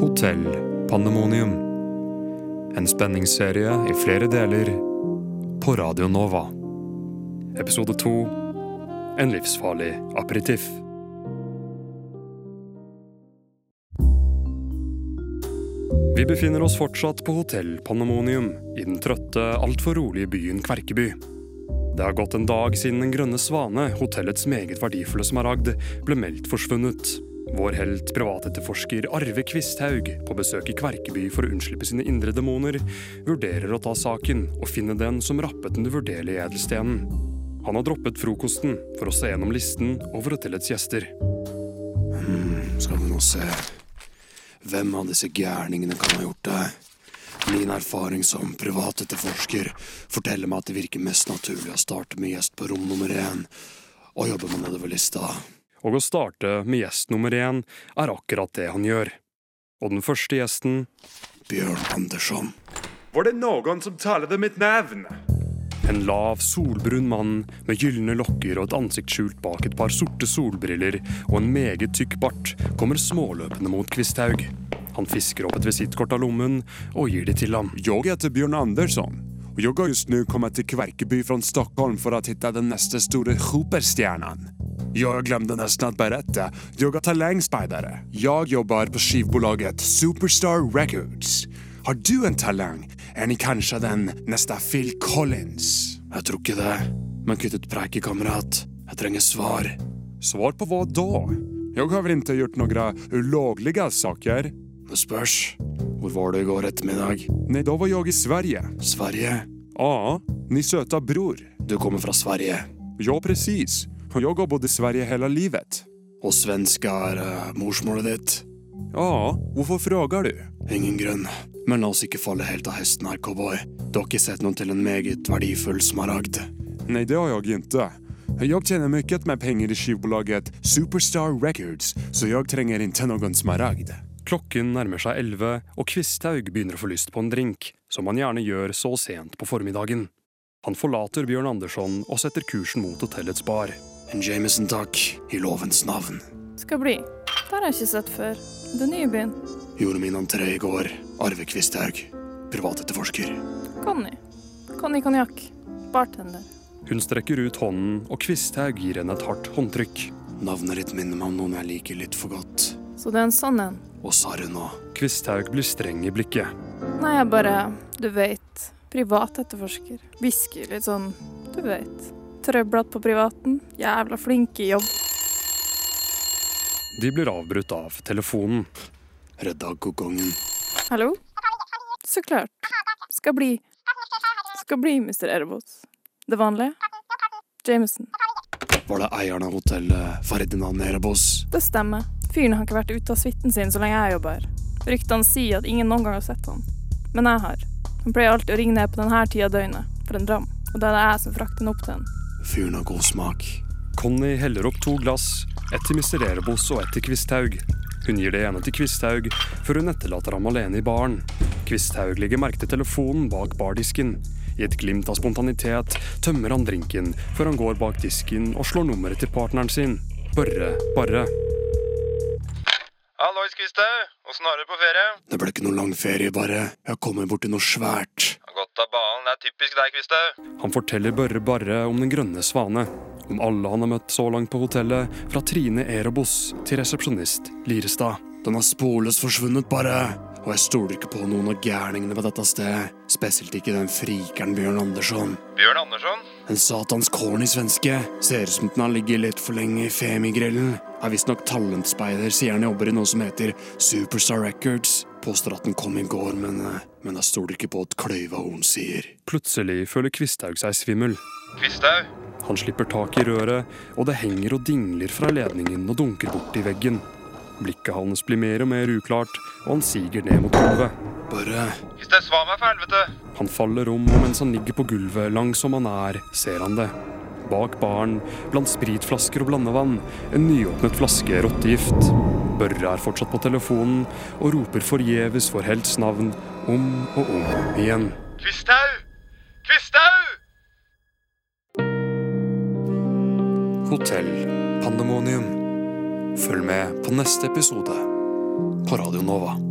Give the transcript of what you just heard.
Hotell Pandemonium. En spenningsserie i flere deler på Radio Nova. Episode to En livsfarlig aperitiff. Vi befinner oss fortsatt på Hotell Pandemonium i den trøtte, altfor rolige byen Kverkeby. Det har gått en dag siden Den grønne svane, hotellets meget verdifulle smaragd, ble meldt forsvunnet. Vår helt privatetterforsker Arve Kvisthaug, på besøk i Kverkeby for å unnslippe sine indre demoner, vurderer å ta saken og finne den som rappet den uvurderlige edelstenen. Han har droppet frokosten for å se gjennom listen over hotellets gjester. Hmm, skal vi nå se Hvem av disse gærningene kan ha gjort det? Min erfaring som privatetterforsker forteller meg at det virker mest naturlig å starte med gjest på rom nummer én, og jobbe meg nedover lista. Og å starte med gjest nummer én er akkurat det han gjør. Og den første gjesten Bjørn Andersson. Var det noen som talte mitt navn? En lav, solbrun mann med gylne lokker og et ansikt skjult bak et par sorte solbriller og en meget tykk bart kommer småløpende mot Kvisthaug. Han fisker opp et visittkort av lommen og gir det til ham. Jag heter Bjørn Andersson och jag har just nu kommit till Kverkeby från Stockholm för att hitta den nästa stora superstjärnan. Jag glömde nästan att berätta, jag är talangspidare. Jag jobbar på skivbolaget Superstar Records. Har du en talang? Är ni kanske den nästa Phil Collins? Jeg tror ikke det, men kutt ut preiket, kamerat. Jeg trenger svar. Svar på vad då? Jag har väl inte gjort några olagliga saker? Det spørs. Hvor var du i går ettermiddag? Nej, då var jag i Sverige. Sverige? Ja, ni söta bror. Du kommer fra Sverige, Ja, precis. Och jag har bott i Sverige hela livet. og svensk er eh, morsmålet ditt? Ja, varför frågar du? Ingen grunn. Men la oss ikke falle helt av hesten her, cowboy. Du har ikke sett noe til en meget verdifull smaragd. Nej, det har jag inte. Jag tjänar mycket med pengar i skivbolaget Superstar Records, så jag tränger inte någon smaragd. Klokken nærmer seg elleve, og Kvisthaug begynner å få lyst på en drink, som han gjerne gjør så sent på formiddagen. Han forlater Bjørn Andersson og setter kursen mot hotellets bar. En Jameson, takk, i lovens navn. Skal bli. Det har jeg ikke sett før. Du er ny i byen. Gjorde min entré i går. Arve Kvisthaug, privatetterforsker. Conny. Conny konjakk. Bartender. Hun strekker ut hånden, og Kvisthaug gir henne et hardt håndtrykk. Navnet ditt minner meg om noen jeg liker litt for godt. Så det er en sånn en? Og sa hun nå. Kvisthaug blir streng i blikket. Nei, jeg bare Du veit. Privatetterforsker. Hvisker litt sånn Du veit. Trøblete på privaten. Jævla flink i jobb. De blir avbrutt av telefonen. Redda kokongen. Hallo? Så klart. Skal bli. Skal bli, Mr. Erebos. Det vanlige? Jameson. Var det eieren av hotellet Ferdinand Erebos? Det stemmer. Fyren har ikke vært ute av suiten sin så lenge jeg jobber. Ryktene sier at ingen noen gang har sett han. Men jeg har. Han pleier alltid å ringe ned på denne tida av døgnet, for en dram. Og da er det jeg som frakter han opp til han. Fyren har god smak. Conny heller opp to glass. Ett til Mr. Erebos og ett til Kvisthaug. Hun gir det ene til Kvisthaug, før hun etterlater ham alene i baren. Kvisthaug legger merke til telefonen bak bardisken. I et glimt av spontanitet tømmer han drinken før han går bak disken og slår nummeret til partneren sin, Børre Barre. Hallois, Kvisthaug. Åssen har du det på ferie? Det ble ikke noe lang ferie, bare. Jeg kommer borti noe svært. Godt av banen. Det er typisk deg, Kvisthaug. Han forteller Børre Barre om Den grønne svane. Om alle han har møtt så langt på hotellet, fra Trine Erobos til resepsjonist Lirestad. Den har sporløst forsvunnet, bare. Og jeg stoler ikke på noen av gærningene på dette stedet. Spesielt ikke den frikeren Bjørn Andersson. Bjørn Andersson? En satans corny svenske. Ser ut som den har ligget litt for lenge i Femigrillen. Er visstnok talentspeider, sier han jobber i noe som heter Superstar Records. Påstår at den kom i går, men, eh, men jeg stoler ikke på et kløyva horn sier. Plutselig føler Kvisthaug seg svimmel. Kvisthaug? Han slipper tak i røret, og det henger og dingler fra ledningen og dunker borti veggen. Blikket hans blir mer og mer uklart, og han siger ned mot gulvet. Bare Kvisthaug, svar meg, for helvete! han faller om, og mens han ligger på gulvet, lang som han er, ser han det. Bak baren, blant spritflasker og blandevann, en nyåpnet flaske rottegift. Børre er fortsatt på telefonen og roper forgjeves for helts navn om og om igjen. Kvisthaug! Kvisthaug! Hotell Pandemonium. Følg med på neste episode på Radio Nova.